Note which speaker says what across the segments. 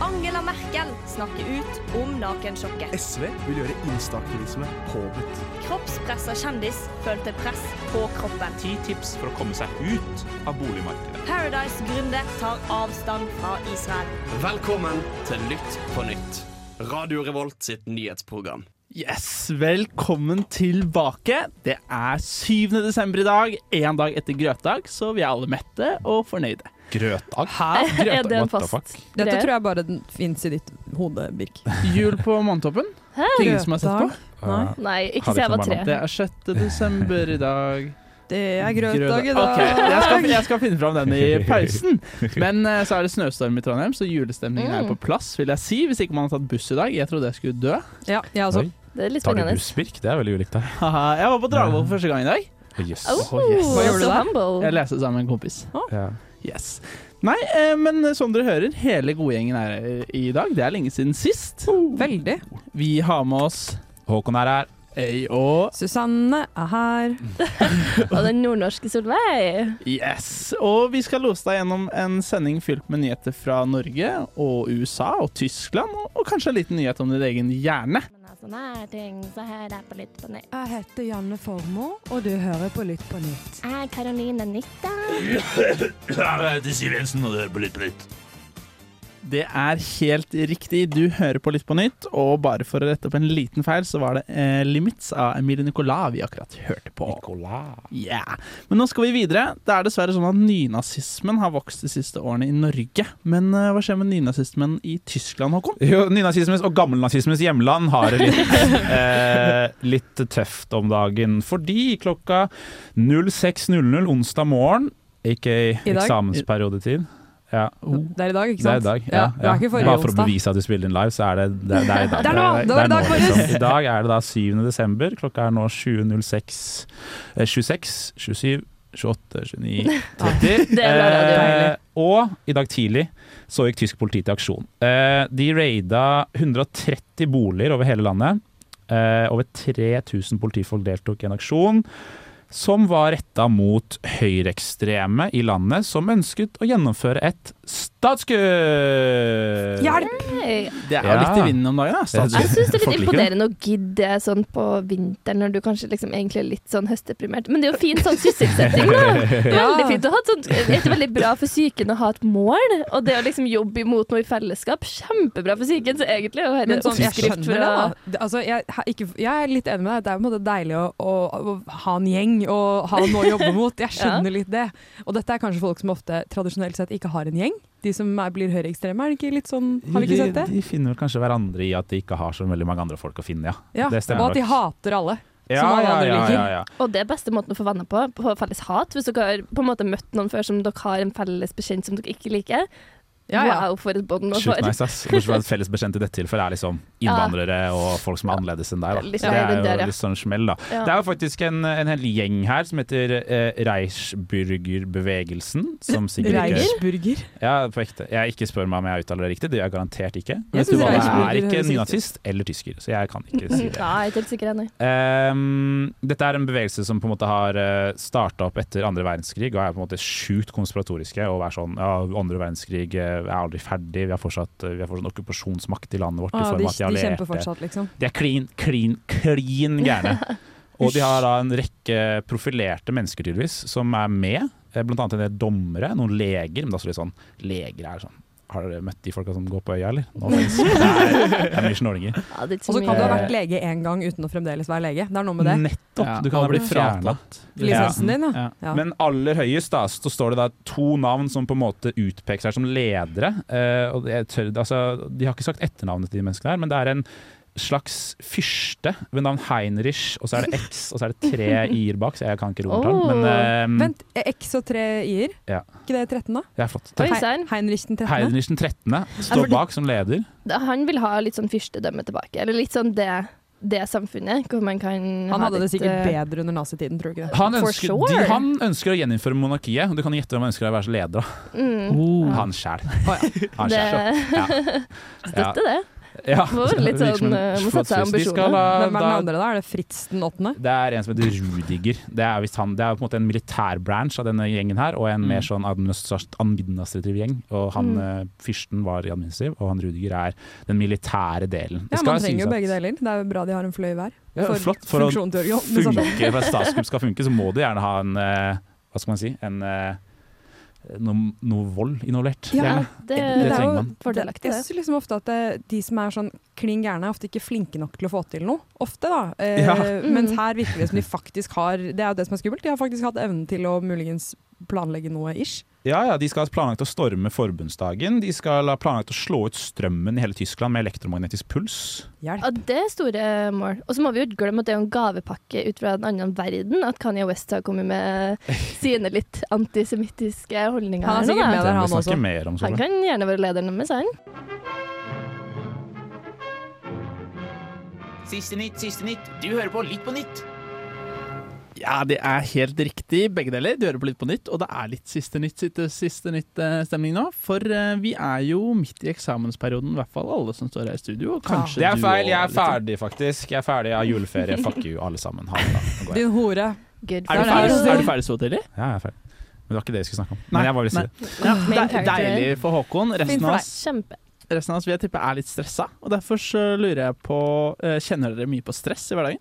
Speaker 1: Angela Merkel snakker ut om nakensjokket.
Speaker 2: SV vil gjøre instaktivisme påbudt.
Speaker 1: Kroppspressa kjendis følte press på kroppen.
Speaker 3: Ti tips for å komme seg ut av boligmarkedet.
Speaker 1: Paradise-gründer tar avstand fra Israel.
Speaker 4: Velkommen til Lytt på nytt. Radio Revolt sitt nyhetsprogram.
Speaker 5: Yes, velkommen tilbake. Det er 7. desember i dag, én dag etter grøtdag, så vi er alle mette og fornøyde.
Speaker 6: Grøtdag?
Speaker 5: Her,
Speaker 7: Er det en
Speaker 6: What the
Speaker 7: fast
Speaker 8: Dette
Speaker 7: greie?
Speaker 8: tror jeg bare den fins i ditt hode, Birk.
Speaker 5: jul på månetoppen. Ingen som har sett på.
Speaker 8: Nei.
Speaker 7: Nei, ikke
Speaker 6: Har
Speaker 7: se
Speaker 6: vi
Speaker 7: jeg var
Speaker 6: ikke noe
Speaker 7: tre.
Speaker 6: mellom?
Speaker 5: Det er 6. desember i dag.
Speaker 8: Det er grøtdag i dag.
Speaker 5: Ok, jeg, skal, jeg skal finne fram den i pausen. Men eh, så er det snøstorm i Trondheim, så julestemningen
Speaker 8: Mm.
Speaker 5: er på plass, vil jeg si. Hvis ikke man har tatt buss i dag. Jeg trodde jeg skulle dø.
Speaker 8: Ja, jeg også.
Speaker 6: Oi.
Speaker 7: Det er litt
Speaker 6: Tar du
Speaker 7: spennende.
Speaker 6: bussvirk? Det er veldig ulikt deg.
Speaker 5: Haha, jeg var på Dragvoll for første gang i dag.
Speaker 6: Å, jøss.
Speaker 7: Oh,
Speaker 8: Hva gjorde du
Speaker 7: so
Speaker 8: der?
Speaker 5: Jeg
Speaker 7: humble.
Speaker 5: leste sammen med en kompis.
Speaker 6: Ja.
Speaker 5: Yes. Nei, eh, men som dere hører, hele godgjengen er her i dag. Det er lenge siden sist.
Speaker 8: Veldig.
Speaker 5: Vi har med oss
Speaker 6: Håkon er her.
Speaker 5: Øy og
Speaker 8: Susanne er her.
Speaker 7: Og den nordnorske Solveig.
Speaker 5: Yes. Og vi skal lose deg gjennom en sending fylt med nyheter fra Norge og USA og Tyskland, og, og kanskje en liten nyhet om din egen hjerne.
Speaker 9: Men altså, det er ting som hører på Lytt på nytt.
Speaker 8: Jeg heter Janne Formoe, og du hører på Lytt på nytt.
Speaker 9: Jeg er Karoline Nytta.
Speaker 5: Det er helt riktig. Du hører på Lytt på nytt, og bare for å rette opp en liten feil, så var det eh, Limits av Emilie Nicolas vi akkurat hørte på. Yeah. Men nå skal vi videre. Det er dessverre sånn at nynazismen har vokst de siste årene i Norge. Men eh, hå skjer med nynazismen i Tyskland, Håkon?
Speaker 6: Jo, Nynazismens og gammelnazismens hjemland har det litt, eh, litt tøft om dagen. Fordi klokka 06.00 onsdag morgen, aka
Speaker 8: I dag?
Speaker 6: eksamensperiodetid ja.
Speaker 8: Det er i dag, ikke
Speaker 6: Det er i
Speaker 8: sant?
Speaker 6: dag.
Speaker 8: Ja, det er ikke forrige
Speaker 6: Bare for å
Speaker 8: onsdag.
Speaker 6: bevise at du spiller inn live, så er det, det, det er i dag.
Speaker 8: Det er nå! Det var i dag,
Speaker 6: nå, liksom.
Speaker 8: Boris.
Speaker 6: I dag er det da 7. desember. Klokka er nå 20.06. eh, 26, 27, 28, 29, 30.
Speaker 7: Det er bra radio.
Speaker 6: Eh, og i dag tidlig så gikk tysk politi til aksjon. Eh, de raida 130 boliger over hele landet. Eh, over 3000 politifolk deltok i en aksjon som var retta mot høyreekstreme i landet som ønsket å gjennomføre et statskupp.
Speaker 8: Hjelp!
Speaker 7: Hey.
Speaker 5: Det er
Speaker 6: Ja.
Speaker 5: litt i vinden om dagen. Da. Stats-
Speaker 7: Jeg syns det er
Speaker 6: Folk
Speaker 7: litt
Speaker 6: liker det.
Speaker 7: imponerende å gidde sånn på vinteren når du kanskje liksom egentlig er litt sånn høstdeprimert. Men det er jo fint sånn sysselsetting, da. Veldig fint å ha et sånt Det er veldig bra for psyken å ha et mål, og det å liksom jobbe imot noe i fellesskap. Kjempebra for psyken, så egentlig er jo
Speaker 8: Men
Speaker 7: dette
Speaker 8: sånn, jeg skjønner
Speaker 7: oppskrift
Speaker 8: det,
Speaker 7: for å
Speaker 8: da. Det- Altså, jeg, ha- ikke, jeg er litt enig med deg. Det er på en måte deilig å, å, å ha en gjeng og ha noe å jobbe mot. Jeg skjønner litt det. Og dette er kanskje folk som ofte tradisjonelt sett ikke har en gjeng. De som er, blir høyreekstreme, er det ikke litt sånn Har vi ikke sett det?
Speaker 6: De, de finner vel kanskje hverandre i at de ikke har så veldig mange andre folk å finne, ja.
Speaker 8: Ja,
Speaker 6: Det stemmer
Speaker 8: og at de
Speaker 6: nok.
Speaker 8: hater alle. alle andre liker.
Speaker 7: Og det er beste måten å få venner på, på felles hat. Hvis dere har på en måte møtt noen før som dere har en felles bekjent som dere ikke liker.
Speaker 8: Ja, ja.
Speaker 7: Wow, for et bånd man
Speaker 6: Sjukt
Speaker 7: får.
Speaker 6: nice, ass. Bortsett fra at fellesbekjent i dette tilfellet er liksom innvandrere og folk som er annerledes enn deg. Da.
Speaker 7: Litt
Speaker 6: Så det
Speaker 7: mer den
Speaker 6: er
Speaker 7: der, ja.
Speaker 6: jo litt sånn smell, da.
Speaker 7: Ja.
Speaker 6: Det er jo faktisk en, en hel gjeng her som heter eh, Reichsburgerbevegelsen. Som sikkert ikke
Speaker 8: Reichsburger.
Speaker 6: Ja, på ekte. Jeg ikke spør meg om jeg uttaler det riktig, det gjør jeg garantert ikke.
Speaker 8: Jeg
Speaker 6: Vet du
Speaker 8: synes
Speaker 6: hva,
Speaker 8: Reichsburger
Speaker 6: jeg er ikke
Speaker 8: høres riktig ut.
Speaker 6: nynazist eller tysker, så jeg kan ikke si
Speaker 7: Nei, jeg
Speaker 6: det.
Speaker 7: er ikke helt sikker ennå.
Speaker 6: Ehm, dette er en bevegelse som på en måte har starta opp etter andre verdenskrig, og er på en måte sjukt konspiratoriske. Og er sånn ja, andre verdenskrig eh, er aldri ferdig, vi har fortsatt, eh, vi har fortsatt en okkupasjonsmakt i landet vårt.
Speaker 8: Ah,
Speaker 6: i
Speaker 8: de,
Speaker 6: form av at de, eh,
Speaker 8: de kjemper
Speaker 6: allierte-
Speaker 8: fortsatt, liksom.
Speaker 6: de er klin, klin, klin gærne. Og de har da en rekke profilerte mennesker tydeligvis som er med. Eh, Blant annet en del dommere, noen leger. Men det er også litt sånn, leger er sånn Har dere møtt de folka som går på øya, eller? Nå finnes det er, det er mye snorringer.
Speaker 7: Ja, det er ikke
Speaker 8: Og
Speaker 7: så
Speaker 8: så kan du
Speaker 7: mye.
Speaker 8: ha vært lege én gang uten å fremdeles være lege. Det er noe med det.
Speaker 6: Nettopp!
Speaker 5: Ja,
Speaker 6: Du kan
Speaker 5: og
Speaker 6: ha blitt
Speaker 5: blitt
Speaker 6: fjerna.
Speaker 8: Lisensen din, ja. ja.
Speaker 6: Men aller høyest da, så står det da to navn som på en måte utpeker seg som ledere. Eh, og jeg tør, altså, de har ikke sagt etternavnet til de menneskene her, men det er en slags fyrste ved navn Heinrich, og så er det X, og så er det tre i-er bak, så jeg kan ikke romertall.
Speaker 7: Oh.
Speaker 6: Men eh,
Speaker 8: Vent, X og tre i-er?
Speaker 6: Ja.
Speaker 8: Ikke det 13, da?
Speaker 6: det er flott.
Speaker 7: Oi,
Speaker 8: Hei-
Speaker 7: sann.
Speaker 8: Heinrich den 13.
Speaker 6: Heinrich den 13.
Speaker 7: Ja, Altså,
Speaker 6: står
Speaker 7: for det-
Speaker 6: bak som leder.
Speaker 7: Han vil ha litt sånn fyrstedømme tilbake. Eller litt sånn det, det samfunnet, hvor man kan
Speaker 8: Han
Speaker 7: ha
Speaker 8: hadde det
Speaker 7: litt,
Speaker 8: sikkert
Speaker 7: eh,
Speaker 8: bedre under nazitiden, tror du ikke det?
Speaker 6: Han
Speaker 7: For
Speaker 6: ønsker,
Speaker 7: sure.
Speaker 6: de, han ønsker å gjeninnføre monarkiet, og du kan gjette hvem han ønsker å være som leder. da.
Speaker 7: Mm,
Speaker 5: Oh.
Speaker 6: Han sjæl.
Speaker 8: Å, ja.
Speaker 6: Han
Speaker 7: det
Speaker 6: sjæl. Ja.
Speaker 7: støtter det.
Speaker 6: Ja,
Speaker 7: Det var litt
Speaker 6: virker som
Speaker 7: sånn,
Speaker 6: en
Speaker 7: eh, må sette seg
Speaker 6: slottsfest. De
Speaker 7: ambisjoner.
Speaker 6: skal ha-
Speaker 8: Hvem er den
Speaker 6: da-
Speaker 8: andre, da? Er det Fritz den åttende?
Speaker 6: Det er en som heter Rudiger. Det er, visst han, det er på en måte en militærbranch av denne gjengen her, og en
Speaker 5: Mm.
Speaker 6: mer sånn administrat- administrativ gjeng. Og han,
Speaker 8: Mm.
Speaker 6: eh, Fyrsten var i administrativ, og han Rudiger er den militære delen. Det
Speaker 8: Ja,
Speaker 6: skal
Speaker 8: man trenger
Speaker 6: sies
Speaker 8: jo
Speaker 6: at-
Speaker 8: begge deler. Det er jo bra de har en fløy hver.
Speaker 6: Ja,
Speaker 8: For
Speaker 6: flott. For å
Speaker 8: funksjonen til Jørgen. sånn.
Speaker 6: funke, for at statskupp skal funke, så må du gjerne ha en eh, Hva skal man si? En eh, noe, noe vold involvert.
Speaker 8: Ja,
Speaker 6: gjerne.
Speaker 7: Det,
Speaker 6: Det
Speaker 7: det er
Speaker 6: trenger
Speaker 7: jo
Speaker 6: man.
Speaker 7: fordelaktig,
Speaker 8: Jeg
Speaker 7: det.
Speaker 8: synes liksom ofte at eh, de som er sånn klin gærne, er ofte ikke flinke nok til å få til noe. Ofte, da. Eh,
Speaker 5: Ja.
Speaker 8: Mens
Speaker 7: Mm.
Speaker 8: her virker det som de faktisk har Det er jo det som er skummelt. De har faktisk hatt evnen til å muligens planlegge noe ish.
Speaker 6: Ja, ja, De skal ha planlagt å storme forbundsdagen. De skal ha planlagt å slå ut strømmen i hele Tyskland med elektromagnetisk puls.
Speaker 8: Hjelp.
Speaker 7: Ja, det er store mål. Og så må vi jo ikke glemme at det er jo en gavepakke ut fra en annen verden. At Kanye West har kommet med sine litt antisemittiske holdninger.
Speaker 8: Han er
Speaker 7: her nå,
Speaker 8: sikkert
Speaker 7: da.
Speaker 8: med der,
Speaker 6: Den
Speaker 8: han
Speaker 6: vi
Speaker 8: også.
Speaker 6: snakker mer om. sånn. Solveig.
Speaker 7: Han kan gjerne være lederen deres, han.
Speaker 4: Siste nytt, siste nytt. Du hører på Litt på nytt.
Speaker 5: Ja, det er helt riktig, begge deler. Du hører på litt på nytt, og det er litt siste nytt, siste, siste nytt eh, stemning nå. For eh, vi er jo midt i eksamensperioden, i hvert fall alle som står her i studio. Og kanskje
Speaker 6: Det er
Speaker 5: du
Speaker 6: feil.
Speaker 5: og
Speaker 6: Jeg er
Speaker 5: litt-
Speaker 6: ferdig, faktisk. Jeg er ferdig, jeg har juleferie. Fuck you, alle sammen. Ha det bra. Nå går jeg.
Speaker 8: Din hore.
Speaker 7: Good
Speaker 5: Er du
Speaker 7: for
Speaker 5: ferdig,
Speaker 7: you.
Speaker 5: er du ferdig så tidlig?
Speaker 6: Ja, jeg er ferdig. Men det var ikke det jeg skulle snakke om.
Speaker 5: Nei,
Speaker 6: Men jeg var litt
Speaker 5: nei.
Speaker 6: sur.
Speaker 5: Ja,
Speaker 7: Main
Speaker 5: det er
Speaker 7: character.
Speaker 5: deilig for Håkon. Resten av, oss,
Speaker 7: Kjempe.
Speaker 5: resten av oss vil jeg tippe er litt stressa. Og derfor så lurer jeg på eh, Kjenner dere mye på stress i hverdagen?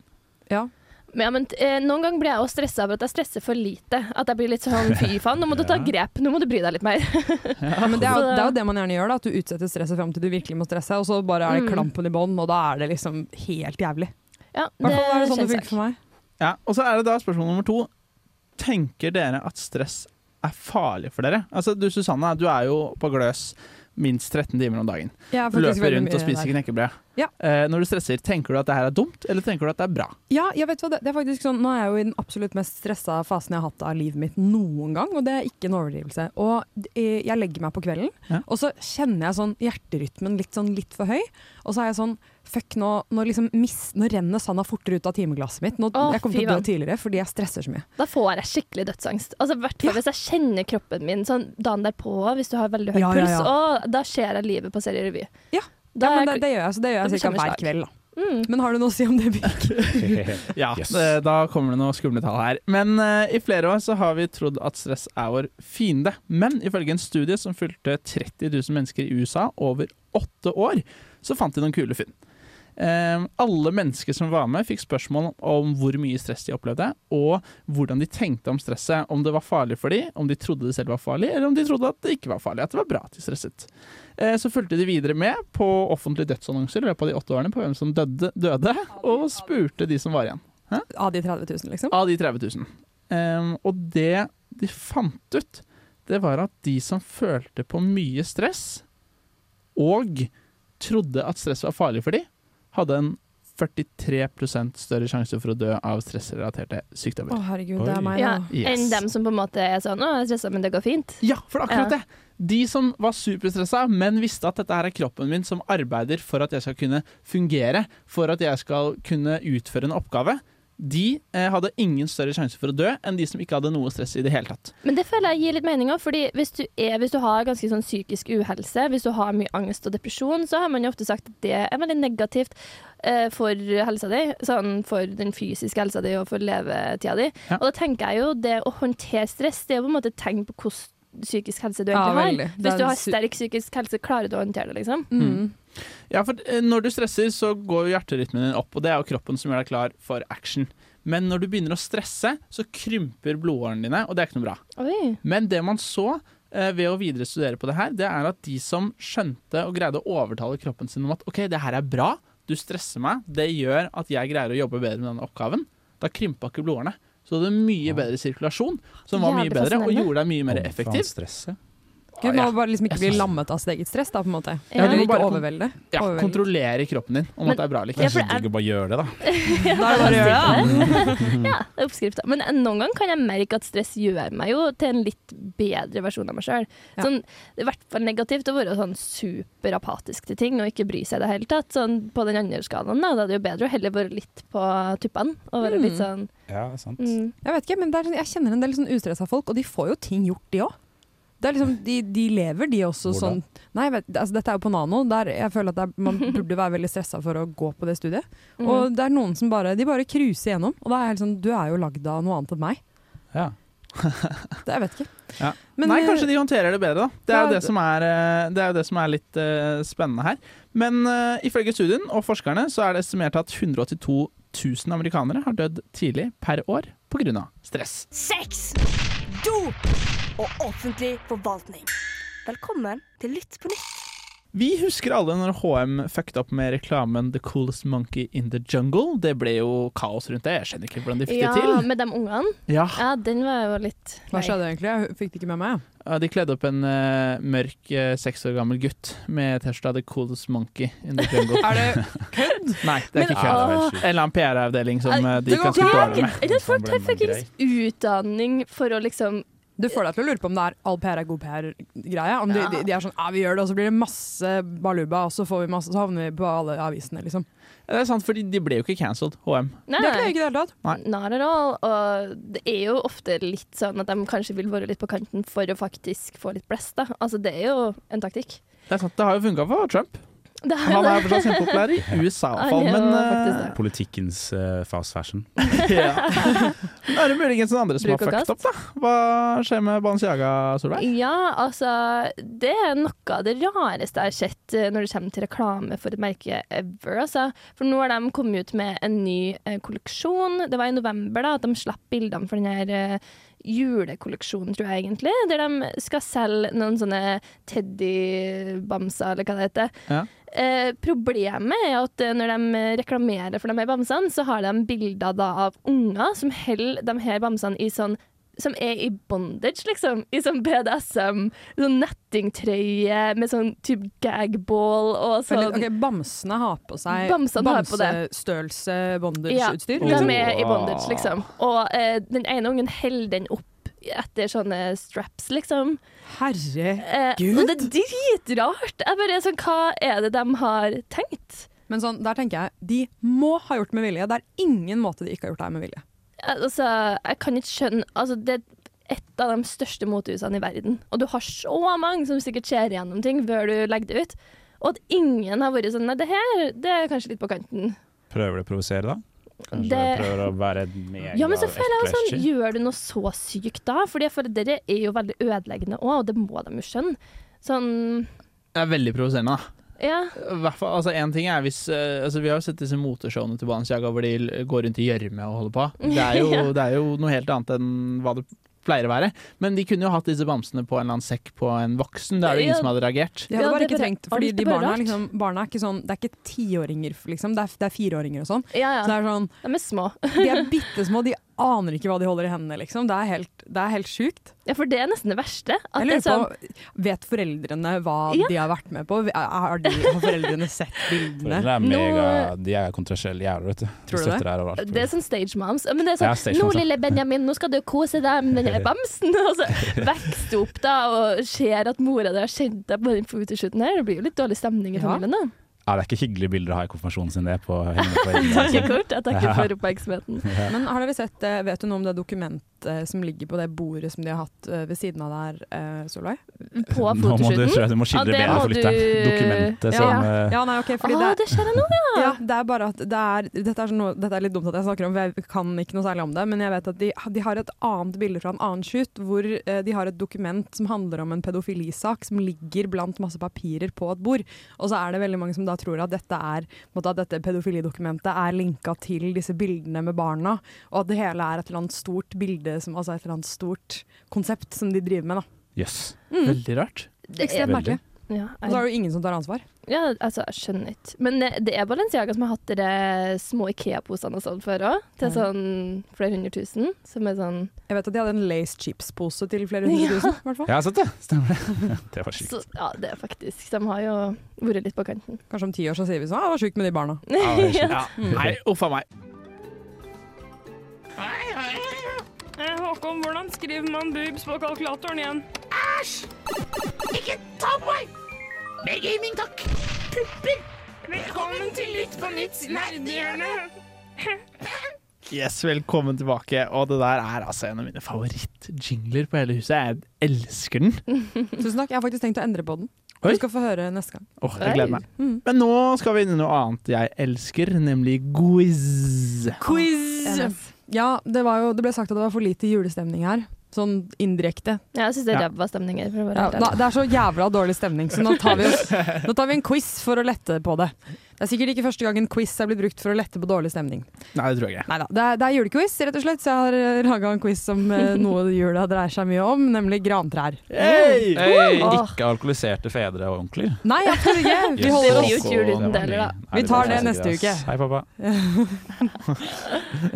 Speaker 8: Ja.
Speaker 7: Men, ja, men eh, Noen ganger blir jeg også stressa over at jeg stresser for lite. At jeg blir litt sånn fy faen, nå må du ta grep, nå må du bry deg litt mer.
Speaker 8: Ja, men det er, jo,
Speaker 7: Så-
Speaker 8: det er jo det man gjerne gjør, da. At du utsetter stresset fram til du virkelig må stresse, og så bare er det
Speaker 7: Mm.
Speaker 8: klampen i bånn, og da er det liksom helt jævlig.
Speaker 7: Ja,
Speaker 8: I hvert fall er det sånn det
Speaker 7: kjennes
Speaker 8: virker for meg.
Speaker 5: Ja, og så er det da spørsmål nummer to. Tenker dere at stress er farlig for dere? Altså, du Susanne, du er jo på gløs minst 13 timer om dagen.
Speaker 8: Jeg er
Speaker 5: Du
Speaker 8: faktisk
Speaker 5: løper
Speaker 8: veldig
Speaker 5: rundt og
Speaker 8: mye
Speaker 5: spiser
Speaker 8: der.
Speaker 5: knekkebrød.
Speaker 8: Ja.
Speaker 5: Eh, når du stresser, tenker du at det her er dumt, eller tenker du at det er bra?
Speaker 8: Ja, jeg vet hva, det, det er faktisk sånn, Nå er jeg jo i den absolutt mest stressa fasen jeg har hatt av livet mitt noen gang, og det er ikke en overdrivelse. Og d- eh, jeg legger meg på kvelden,
Speaker 5: Ja.
Speaker 8: og så kjenner jeg sånn hjerterytmen litt sånn litt for høy. Og så er jeg sånn Fuck, nå, nå, liksom mis, nå renner sanda fortere ut av timeglasset mitt. Nå,
Speaker 7: Å,
Speaker 8: jeg kommer til
Speaker 7: fy
Speaker 8: å dø tidligere fordi jeg stresser så mye.
Speaker 7: Da får jeg skikkelig dødsangst. Altså, i hvert fall Hvis jeg kjenner kroppen min sånn dagen derpå, hvis du har veldig høy
Speaker 8: Ja, ja,
Speaker 7: puls,
Speaker 8: ja.
Speaker 7: å, da ser jeg livet på serie revy.
Speaker 8: Ja.
Speaker 7: Da
Speaker 8: ja, men
Speaker 7: er
Speaker 8: det,
Speaker 7: jeg-
Speaker 8: det gjør jeg, så det gjør
Speaker 7: Da
Speaker 8: jeg
Speaker 7: blir
Speaker 8: sikkert hver
Speaker 7: kjempeslag.
Speaker 8: kveld. da.
Speaker 7: mm.
Speaker 8: Men har du noe å si om det, Birk?
Speaker 5: Ja,
Speaker 6: Yes.
Speaker 5: det- da kommer det noen skumle tall her. Men eh, i flere år så har vi trodd at stress er vår fiende. Men ifølge en studie som fulgte 30 000 mennesker i USA over åtte år, så fant de noen kule funn. Eh, alle mennesker som var med, fikk spørsmål om hvor mye stress de opplevde, og hvordan de tenkte om stresset. Om det var farlig for dem, om de trodde det selv var farlig, eller om de trodde at det ikke var farlig. At det var bra at de stresset. Eh, Så fulgte de videre med på offentlige dødsannonser i løpet av de åtte årene på hvem som døde, døde og spurte de som var igjen.
Speaker 8: Av de 30 000, liksom?
Speaker 5: Av de 30 000. Ehm, og det de fant ut, det var at de som følte på mye stress, og trodde at stress var farlig for dem, hadde en 43 større sjanse for å dø av stressrelaterte
Speaker 8: Å,
Speaker 5: sykdommer.
Speaker 8: herregud, det
Speaker 6: Oi.
Speaker 8: er meg,
Speaker 7: ja,
Speaker 8: da.
Speaker 5: Yes.
Speaker 7: Enn dem som på en måte er sånn 'Å, jeg er stressa, men det går fint'.
Speaker 5: Ja, for det er akkurat
Speaker 7: Ja.
Speaker 5: det! De som var superstressa, men visste at dette her er kroppen min som arbeider for at jeg skal kunne fungere, for at jeg skal kunne utføre en oppgave, de eh, hadde ingen større sjanse for å dø enn de som ikke hadde noe stress i det hele tatt.
Speaker 7: Men det føler jeg gir litt mening òg, fordi hvis du, er, hvis du har ganske sånn psykisk uhelse, hvis du har mye angst og depresjon, så har man jo ofte sagt at det er veldig negativt eh, for helsa di. Sånn for den fysiske helsa di og for levetida di.
Speaker 5: Ja.
Speaker 7: Og da tenker jeg jo det å håndtere stress, det er jo på en måte et tegn på hvordan psykisk helse du
Speaker 8: Ja,
Speaker 7: egentlig
Speaker 8: veldig. Det
Speaker 7: har.
Speaker 8: er
Speaker 7: Hvis du
Speaker 8: en
Speaker 7: har
Speaker 8: su-
Speaker 7: sterk psykisk helse, klarer du å håndtere det, liksom?
Speaker 8: Mm.
Speaker 5: Ja, for eh, når du stresser, så går jo hjerterytmen din opp, og det er jo kroppen som gjør deg klar for action. Men når du begynner å stresse, så krymper blodårene dine, og det er ikke noe bra.
Speaker 7: Oi.
Speaker 5: Men det man så eh, ved å videre studere på det her, det er at de som skjønte og greide å overtale kroppen sin om at OK, det her er bra, du stresser meg, det gjør at jeg greier å jobbe bedre med denne oppgaven, da krympa ikke blodårene. Så du hadde mye bedre sirkulasjon, som var mye
Speaker 7: Jævlig
Speaker 5: bedre og
Speaker 7: fascinerende.
Speaker 5: gjorde deg mye mer
Speaker 6: Faen,
Speaker 5: effektiv.
Speaker 6: stresset.
Speaker 8: Gud,
Speaker 5: Ja,
Speaker 8: man må bare liksom ikke
Speaker 5: Jeg
Speaker 8: bli
Speaker 5: synes-
Speaker 8: lammet av sitt eget stress, da, på en måte.
Speaker 7: Ja,
Speaker 8: Eller
Speaker 5: du må
Speaker 8: ikke
Speaker 5: bare-
Speaker 8: overvelde.
Speaker 5: Ja,
Speaker 8: Overveldet.
Speaker 5: kontrollere kroppen din om
Speaker 7: Men-
Speaker 5: at det er bra eller
Speaker 6: Det
Speaker 5: ikke.
Speaker 6: er så digg å bare gjøre det, da.
Speaker 8: Da er det bare å gjøre det. da.
Speaker 7: Ja, det er oppskrifta. Men noen ganger kan jeg merke at stress gjør meg jo til en litt bedre versjon av meg sjøl.
Speaker 8: Ja.
Speaker 7: Sånn, det er i hvert fall negativt å være sånn superapatisk til ting og ikke bry seg i det hele tatt. Sånn, på den andre skalaen da, da er det jo bedre å heller være litt på tuppene og være litt sånn
Speaker 6: Ja, sant.
Speaker 7: mm.
Speaker 8: Jeg vet ikke, men det er sånn, jeg kjenner en del sånn ustressa folk, og de får jo ting gjort, de òg. Det er liksom, de, de lever, de også.
Speaker 6: Hvordan?
Speaker 8: Sånn, nei, jeg vet, altså, dette er jo på Nano. Der jeg føler at det er, man burde være veldig stressa for å gå på det studiet.
Speaker 7: mm.
Speaker 8: Og det er noen som bare De bare cruiser gjennom. Og da er jeg helt sånn Du er jo lagd av noe annet enn meg.
Speaker 6: Ja.
Speaker 8: Det, jeg vet ikke.
Speaker 5: Ja.
Speaker 8: Men,
Speaker 5: Nei,
Speaker 8: eh,
Speaker 5: kanskje de håndterer det bedre, da. Det er jo
Speaker 8: ja,
Speaker 5: det som er, eh, det er, jo det som er litt eh, spennende her. Men eh, ifølge studien og forskerne så er det estimert at 182 000 amerikanere har dødd tidlig per år pga. stress.
Speaker 1: Sex, dop og offentlig forvaltning. Velkommen til Lytt på nytt.
Speaker 5: Vi husker alle når HM fucket opp med reklamen 'The Coolest Monkey in the Jungle'. Det ble jo kaos rundt det. Jeg skjønner ikke hvordan de fikk
Speaker 7: Ja,
Speaker 5: det til.
Speaker 7: med de ungene.
Speaker 5: Ja,
Speaker 7: Ja, den var jo litt
Speaker 8: hva skjedde egentlig? Jeg fikk det ikke med meg.
Speaker 5: Ja, De kledde opp en eh, mørk eh, seks år gammel gutt med T-skjorta 'The Coolest Monkey in the Jungle'.
Speaker 8: Er det
Speaker 5: Nei, det er
Speaker 7: Men-
Speaker 5: ikke
Speaker 7: Ja,
Speaker 5: kødd.
Speaker 7: det var
Speaker 5: En
Speaker 6: helt
Speaker 5: eller annen PR-avdeling som eh, de
Speaker 8: det
Speaker 5: kan
Speaker 8: var
Speaker 5: spare med.
Speaker 7: Jeg tror
Speaker 6: Sånn
Speaker 7: folk tar fuckings utdanning for å liksom
Speaker 8: Du får deg til å lure på om det er all PR er god PR-greie. Om de,
Speaker 7: Ja.
Speaker 8: de, de er sånn ja, vi gjør det, og så blir det masse baluba, og så, får vi masse, så havner vi på alle avisene, liksom.
Speaker 5: Ja, Det er sant, fordi de ble jo ikke cancelled, HM.
Speaker 7: Nei,
Speaker 8: Det er ikke det i det hele tatt.
Speaker 5: Nei.
Speaker 7: not at all. Og det er jo ofte litt sånn at de kanskje vil være litt på kanten for å faktisk få litt blest, da. Altså, det er jo en taktikk.
Speaker 5: Det er sant, det har jo funka for Trump.
Speaker 7: Det er jo
Speaker 5: Han
Speaker 7: det.
Speaker 5: er fortsatt kjempepopulær i USA, i hvert fall,
Speaker 7: Han er jo
Speaker 5: men
Speaker 7: faktisk
Speaker 5: eh,
Speaker 7: det.
Speaker 6: Politikkens eh, fast fashion.
Speaker 5: ja. Men er det muligens noen andre som
Speaker 7: Bruk og
Speaker 5: har fucked opp,
Speaker 7: kast.
Speaker 5: da? Hva skjer med Balenciaga, Solveig?
Speaker 7: Ja, altså Det er noe av det rareste jeg har sett eh, når det kommer til reklame for et merke ever. Altså. For nå har de kommet ut med en ny eh, kolleksjon. Det var i november da, at de slapp bildene for den her eh, julekolleksjonen, tror jeg egentlig. Der de skal selge noen sånne teddybamser, eller hva det heter.
Speaker 5: Ja.
Speaker 7: Eh, problemet er at eh, når de reklamerer for de her bamsene, så har de bilder da, av unger som holder de her bamsene i sånn som er i bondage, liksom. I sånn BDSM. Sånn nettingtrøye med sånn typ gagball og sånn.
Speaker 8: Eller, ok, Bamsene har på seg
Speaker 7: Bamsene har på det.
Speaker 8: bamsestørrelse
Speaker 7: Ja,
Speaker 8: bondage-utstyr.
Speaker 7: de er i bondage, liksom. Og eh, den ene ungen holder den opp etter sånne straps, liksom.
Speaker 8: Herre
Speaker 7: Eh, og det er dritrart! Jeg bare er sånn, hva er det de har tenkt?
Speaker 8: Men sånn, der tenker jeg, de må ha gjort med vilje. Det er ingen måte de ikke har gjort det her med vilje.
Speaker 7: Altså, jeg kan ikke skjønne Altså, det er et av de største motehusene i verden. Og du har så mange som sikkert ser igjennom ting før du legger det ut. Og at ingen har vært sånn Nei, det her det er kanskje litt på kanten.
Speaker 6: Prøver du å provosere, da? Kanskje
Speaker 7: Det-
Speaker 6: prøver å være mega
Speaker 7: Ja, men så føler jeg jo
Speaker 6: ekkel
Speaker 7: sånn, gjør du noe så sykt da? Fordi jeg føler dere er jo veldig ødeleggende òg, og det må de jo skjønne. Sånn,
Speaker 5: Det er veldig provoserende, da.
Speaker 7: ja.
Speaker 5: Hvert fall, altså, en ting er hvis, eh, altså, vi har jo sett disse moteshowene til Balenciaga hvor de l- går rundt i gjørme og holder på. Det er, jo,
Speaker 7: Ja.
Speaker 5: det er jo noe helt annet enn hva det pleier å være. Men de kunne jo hatt disse bamsene på en eller annen sekk på en voksen. Det er jo
Speaker 7: Ja.
Speaker 5: ingen som hadde reagert.
Speaker 8: De hadde
Speaker 7: Ja,
Speaker 8: bare
Speaker 7: det er
Speaker 8: ikke
Speaker 7: bare-
Speaker 8: trengt,
Speaker 7: alt
Speaker 8: fordi
Speaker 7: er
Speaker 8: de
Speaker 7: bare
Speaker 8: barna, er
Speaker 7: rart.
Speaker 8: liksom, barna er ikke sånn, det er ikke tiåringer, liksom. Det er, det er fireåringer og sånn.
Speaker 7: ja,
Speaker 8: Så det
Speaker 7: ja.
Speaker 8: er sånn,
Speaker 7: De er små.
Speaker 8: de er bittesmå, de aner ikke hva de holder i hendene, liksom. Det er helt, det er helt sjukt.
Speaker 7: Ja, for det er nesten det verste. At
Speaker 8: Jeg
Speaker 7: det er
Speaker 8: lurer
Speaker 7: sånn,
Speaker 8: på, Vet foreldrene hva
Speaker 7: Ja.
Speaker 8: de har vært med på? Har, de, har foreldrene sett bildene?
Speaker 6: Foreldre er
Speaker 7: Nå-
Speaker 6: mega, de er kontroversielle jævler, vet du. De
Speaker 8: Tror du
Speaker 6: støtter her overalt.
Speaker 7: det er sånn stage moms. Men det er sånn
Speaker 6: Ja, stage
Speaker 7: 'Nå,
Speaker 6: moms, ja.
Speaker 7: lille Benjamin, nå skal du kose deg med den her bamsen.' Og så vokser du opp da og ser at mora di har kjent deg på den fotoshooten her. Det blir jo litt dårlig stemning i
Speaker 8: Ja.
Speaker 7: familien, da.
Speaker 6: Ja, det er ikke hyggelige bilder å ha i konfirmasjonen sin, det. På henne på
Speaker 7: Takk,
Speaker 6: egen-
Speaker 7: Kurt. Jeg takker for oppmerksomheten.
Speaker 8: Men har dere sett, eh, Vet du noe om det dokumentet som ligger på det bordet som de har hatt eh, ved siden av der, eh, Solveig?
Speaker 7: På
Speaker 6: Nå må du,
Speaker 7: fotoshooten.
Speaker 6: skjø- du må skildre
Speaker 7: Ja, det
Speaker 6: bedre
Speaker 7: må
Speaker 6: for lytteren.
Speaker 7: du-
Speaker 6: Dokumentet
Speaker 8: Ja.
Speaker 6: som eh,
Speaker 8: Ja, nei, ok,
Speaker 7: Å,
Speaker 8: fordi det,
Speaker 7: Ah, det skjer nå, ja!
Speaker 8: ja, det er bare at det er, dette, er sånn noe, dette er litt dumt at jeg snakker om, for jeg kan ikke noe særlig om det. Men jeg vet at de, de har et annet bilde fra en annen shoot, hvor eh, de har et dokument som handler om en pedofilisak som ligger blant masse papirer på et bord. Og så er det veldig mange som da tror at dette, er, på en måte, at dette pedofilidokumentet er linka til disse bildene med barna, og at det hele er et eller annet stort bilde, som, altså et eller annet stort konsept som de driver med. da.
Speaker 6: Jøss.
Speaker 7: Mm.
Speaker 5: Veldig rart.
Speaker 7: Det er-
Speaker 8: Ekstremt merkelig.
Speaker 7: Ja,
Speaker 8: Og så er det jo ingen som tar ansvar.
Speaker 7: Ja, altså, jeg skjønner ikke. Men eh, det, det er Balenciaga som har hatt de små Ikea-posene og sånn før òg, til
Speaker 8: Ja.
Speaker 7: sånn flere hundre tusen. Som er sånn
Speaker 8: Jeg vet at de hadde en Lace Chips-pose til flere hundre
Speaker 7: Ja.
Speaker 8: tusen. i hvert fall.
Speaker 6: Jeg har sett det, stemmer det. Det var sykt.
Speaker 7: så, Ja, det er faktisk De har jo vært litt på kanten.
Speaker 8: Kanskje om ti år så sier vi sånn 'Å, det var sjukt med de barna'.
Speaker 6: Ja, det er sykt.
Speaker 5: Ja. Nei, uff a meg.
Speaker 10: Håkon, hvordan skriver man boobs på kalkulatoren igjen? Æsj! Ikke ta på meg! Med gaming, takk! Pupper! Velkommen til Lytt på nytt nerdehjørne!
Speaker 5: Yes, velkommen tilbake. Og det der er altså en av mine favoritt favorittjingler på hele huset. Jeg elsker den.
Speaker 8: Tusen takk. Jeg har faktisk tenkt å endre på den.
Speaker 5: Oi.
Speaker 8: Du skal få høre neste gang.
Speaker 5: Åh, jeg gleder meg.
Speaker 8: Mm.
Speaker 5: Men nå skal vi inn i noe annet jeg elsker, nemlig quiz.
Speaker 8: Quiz! Ja, det, var jo, det ble sagt at det var for lite julestemning her. Sånn indirekte.
Speaker 7: Ja, jeg syns det er
Speaker 6: Ja.
Speaker 7: ræva stemninger. For å være
Speaker 8: Ja,
Speaker 7: helt
Speaker 8: da,
Speaker 7: ærlig.
Speaker 8: det er så jævla dårlig stemning, så nå tar, vi oss, nå tar vi en quiz for å lette på det. Det er sikkert ikke første gang en quiz er blitt brukt for å lette på dårlig stemning.
Speaker 5: Nei, det tror jeg ikke.
Speaker 8: Neida, det, er, det er julequiz, rett og slett, så jeg har laga en quiz som eh, noe jula dreier seg mye om, nemlig grantrær.
Speaker 5: Hey!
Speaker 6: Hey,
Speaker 7: Åh.
Speaker 6: ikke alkoholiserte fedre og onkler.
Speaker 8: Nei, absolutt ikke! Vi
Speaker 7: Det
Speaker 8: holder
Speaker 7: blir jo
Speaker 8: oss
Speaker 7: ikke jul uten det heller, da.
Speaker 8: Vi tar det neste uke.
Speaker 6: Hei, pappa.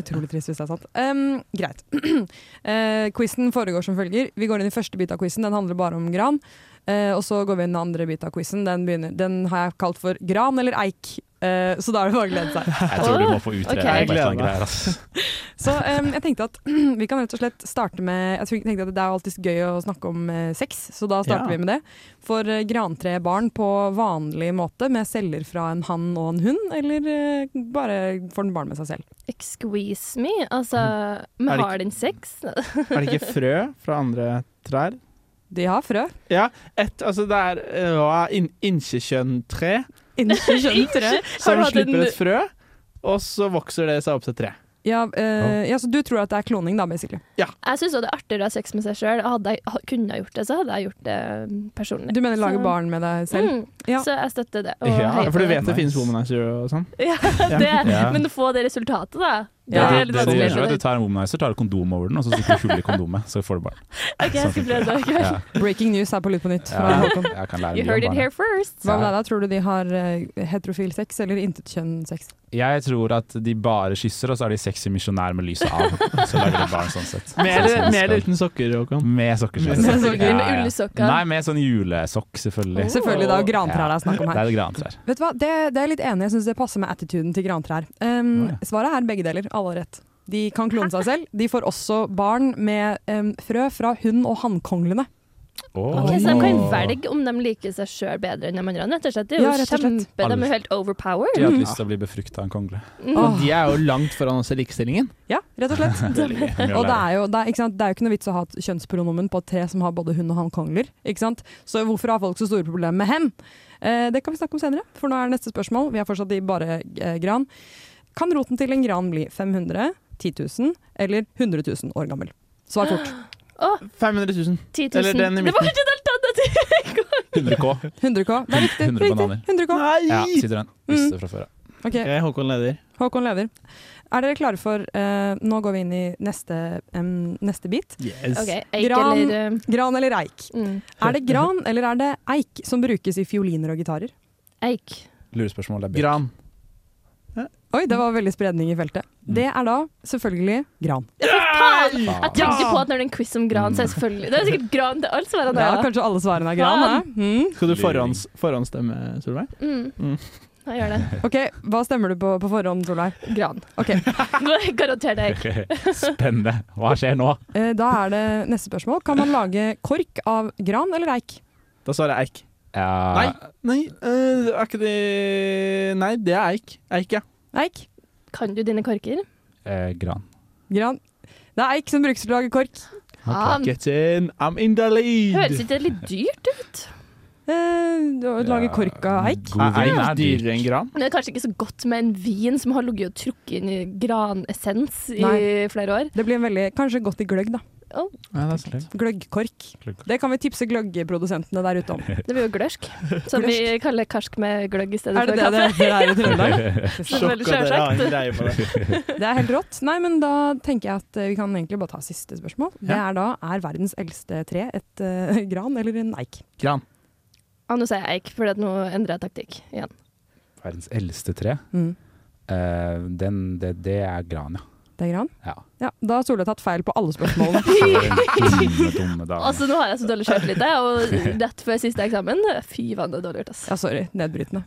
Speaker 8: Utrolig trist hvis det er sant. Um, greit. uh, quizen foregår som følger. Vi går inn i første bit av quizen, den handler bare om gran. Eh, og så går vi inn i den andre bit av quizen, den, begynner- den har jeg kalt for gran eller eik. Eh, så da er det bare å glede seg.
Speaker 6: Jeg tror du må få
Speaker 7: Ok.
Speaker 6: utrede
Speaker 7: Jeg
Speaker 6: et eller
Speaker 5: gleder
Speaker 6: annet greier. ass.
Speaker 8: Så em, jeg tenkte at vi kan rett og slett starte med Jeg tror- tenkte at Det er jo alltid gøy å snakke om eh, sex, så da
Speaker 5: Ja.
Speaker 8: starter vi med det. For eh, grantrebarn på vanlig måte, med celler fra en hann og en hund, eller eh, bare får den barn med seg selv?
Speaker 7: Excuse me, altså Vi
Speaker 5: Er det
Speaker 7: har den sex?
Speaker 5: Er det ikke frø fra andre trær?
Speaker 8: De har frø.
Speaker 5: Ja, et, altså det er øh, in, inkjekjønntre
Speaker 8: Ikke skjønt det.
Speaker 7: Har
Speaker 5: som
Speaker 7: du hatt en-
Speaker 5: slipper et frø, og så vokser det seg opp til tre.
Speaker 8: Ja, eh, ja, så du tror at det er kloning, da, basically.
Speaker 7: Jeg syns det er artigere å ha sex med seg sjøl. Hadde jeg ha- kunne ha gjort det, så hadde jeg gjort det um, personlig.
Speaker 8: Du mener lage
Speaker 7: Så-
Speaker 8: barn med deg selv?
Speaker 7: Mm.
Speaker 8: Ja.
Speaker 7: Så jeg støtter det. Og
Speaker 6: Ja,
Speaker 7: heier på
Speaker 5: For du
Speaker 7: det.
Speaker 5: vet det finnes womanizer og sånn.
Speaker 7: Ja, det,
Speaker 6: Ja.
Speaker 7: Men å få det resultatet, da. Det
Speaker 8: Ja,
Speaker 7: er
Speaker 6: det, du- det,
Speaker 7: litt
Speaker 6: du
Speaker 7: vanskelig.
Speaker 6: gjør, er at du tar en womanizer, tar et kondom over den, og så stikker du hull i kondomet, så får du barn.
Speaker 7: Ok, jeg skal prøve det. ok.
Speaker 6: Ja,
Speaker 8: Breaking news her på Lytt på nytt.
Speaker 6: ja,
Speaker 8: Hva
Speaker 6: jeg kan lære
Speaker 7: You
Speaker 6: mye om
Speaker 7: heard it
Speaker 6: barn.
Speaker 7: here first.
Speaker 8: med deg, da? Tror du de har eh, heterofil sex eller intetkjønn sex?
Speaker 6: Jeg tror at de bare kysser, og så er de sexy misjonær med lyset av. Så lager de barn sånn sett.
Speaker 5: Med eller,
Speaker 6: Sånn
Speaker 5: med eller
Speaker 6: skal-
Speaker 5: uten sokker, Håkon.
Speaker 6: Med sokker.
Speaker 5: Med
Speaker 6: selvfølgelig.
Speaker 7: sokker.
Speaker 6: Ja, ja.
Speaker 7: Med ullsokker.
Speaker 6: Nei, med sånn julesokk, selvfølgelig.
Speaker 7: Oh.
Speaker 8: Selvfølgelig, da. Mm. Grantrær
Speaker 6: Ja.
Speaker 8: det er snakk om her.
Speaker 6: Det er et grantrær.
Speaker 8: Vet du hva, det, det er jeg litt enig. i. Jeg syns det passer med attituden til grantrær. Um,
Speaker 6: Å, ja.
Speaker 8: Svaret er begge deler. Alle har rett. De kan klone seg selv. De får også barn med um, frø fra hund- og hannkonglene.
Speaker 6: Oh.
Speaker 7: Ok, Så de kan velge om de liker seg sjøl bedre enn de andre. Rett og slett. Det er jo
Speaker 8: Ja, rett og slett.
Speaker 7: kjempe, De er
Speaker 6: Alle-
Speaker 7: jo helt overpowered.
Speaker 6: De har hatt lyst til å bli befrukta av en kongle.
Speaker 5: Og
Speaker 7: Mm.
Speaker 5: de er jo langt foran oss i likestillingen.
Speaker 8: Ja, rett og slett. Og det
Speaker 6: Og
Speaker 8: er, jo, det, er, ikke sant? det er jo ikke noe vits å ha et kjønnspronomen på et tre som har både hund- og hannkongler. Ikke sant? Så hvorfor har folk så store problemer med hen? Eh, det kan vi snakke om senere, for nå er det neste spørsmål. Vi er fortsatt i bare eh, gran. Kan roten til en gran bli 500, 10 000 eller 100 000 år gammel? Svar fort.
Speaker 5: 500 000.
Speaker 7: 10 000.
Speaker 5: Eller den i
Speaker 7: Det var
Speaker 5: midten.
Speaker 7: ikke et alternativ!
Speaker 6: 100 K.
Speaker 8: 100 K. Det er riktig. Mm.
Speaker 6: 100 bananer.
Speaker 8: 100 K.
Speaker 5: Nei!
Speaker 6: Ja, sitter den. Visste fra før av.
Speaker 8: Ok,
Speaker 5: Ok, Håkon leder.
Speaker 8: Håkon leder. Er dere klare for eh, Nå går vi inn i neste, em, neste bit.
Speaker 5: Yes.
Speaker 7: Ok, eik
Speaker 8: Gran-
Speaker 7: eller um,
Speaker 8: Gran eller eik?
Speaker 7: mm,
Speaker 8: Er det gran eller er det eik som brukes i fioliner og gitarer?
Speaker 7: eik.
Speaker 6: Lurespørsmål er bedre.
Speaker 5: Gran.
Speaker 8: Oi, det var veldig spredning i feltet.
Speaker 6: Mm.
Speaker 8: Det er da selvfølgelig gran.
Speaker 7: Faen! Jeg tenkte på at når det er en quiz om gran, så er det selvfølgelig Det er sikkert gran til alt svarene
Speaker 8: Ja,
Speaker 7: er. da.
Speaker 8: kanskje alle svarene er gran? hæ? Mm.
Speaker 5: Skal du forhånds, forhåndsstemme, Solveig?
Speaker 7: Mm.
Speaker 5: Mm.
Speaker 7: Jeg gjør det.
Speaker 8: Ok, Hva stemmer du på på forhånd, Solveig?
Speaker 7: Gran.
Speaker 8: Ok,
Speaker 7: Garanter det.
Speaker 6: Spennende. Hva skjer nå?
Speaker 8: eh, Da er det neste spørsmål. Kan man lage kork av gran eller eik?
Speaker 5: Da svarer jeg eik.
Speaker 6: Ja,
Speaker 5: Nei, øh, er ikke det Nei, det er eik. Eik, ja.
Speaker 8: Eik?
Speaker 7: Kan du dine korker?
Speaker 6: eh, gran.
Speaker 8: Gran. Det er eik som brukes til å lage kork.
Speaker 7: Ah,
Speaker 5: Get in, I'm in the
Speaker 7: høres
Speaker 5: lead.
Speaker 7: ikke det litt dyrt ut?
Speaker 8: Eh, å lage kork av eik?
Speaker 6: God
Speaker 5: Er
Speaker 6: vin
Speaker 5: eik
Speaker 6: er dyr.
Speaker 5: dyrere enn gran?
Speaker 7: Men det er kanskje ikke så godt med en vin som har ligget og trukket inn i granessens i
Speaker 8: Nei.
Speaker 7: flere år.
Speaker 8: Det blir en veldig, kanskje godt i gløgg, da.
Speaker 5: Ja, det er sant.
Speaker 8: Gløggkork.
Speaker 6: Gløggkork.
Speaker 8: Det kan vi tipse gløggprodusentene der ute om.
Speaker 7: Det blir jo glørsk, som vi kaller karsk med gløgg i stedet
Speaker 8: Er det det
Speaker 7: for
Speaker 8: det
Speaker 7: kaffe.
Speaker 8: heter her i Trøndelag?
Speaker 7: Selvfølgelig,
Speaker 5: Sjokk at dere har en
Speaker 7: selvsagt.
Speaker 5: greie på det.
Speaker 8: Det er helt rått. Nei, men da tenker jeg at eh, vi kan egentlig bare ta siste spørsmål. Det
Speaker 5: Ja.
Speaker 8: er da er verdens eldste tre et eh, gran eller en eik?
Speaker 5: Gran.
Speaker 7: Ja, nå sier jeg eik, for nå endrer jeg taktikk igjen.
Speaker 6: Verdens eldste tre.
Speaker 8: Mm.
Speaker 6: Eh, den, det, det er gran, ja.
Speaker 8: Det er gran?
Speaker 6: Ja.
Speaker 8: da har Solveig tatt feil på alle spørsmålene.
Speaker 6: Dumme, dumme dagen.
Speaker 7: Altså, nå har jeg så dårlig sjøltillit, jeg, og rett før siste eksamen. Fy vann, det er dårlig gjort, ass.
Speaker 8: ja, sorry. Nedbrytende.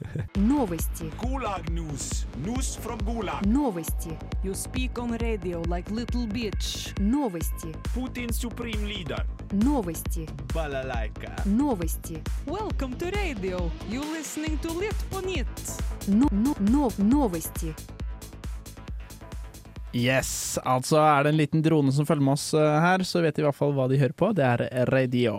Speaker 11: Новости.
Speaker 2: Gulag news. News from Gulag.
Speaker 11: Новости. You speak on radio like little bitch. Новости.
Speaker 2: Putin supreme leader.
Speaker 11: Новости.
Speaker 2: Balalaika.
Speaker 11: Новости.
Speaker 10: Welcome to radio. You listening to Litt på nytt.
Speaker 11: Но, но, но, новости.
Speaker 5: Yes, altså er det en liten drone som følger med oss eh, her, så vet de i hvert fall hva de hører på. Det er radio.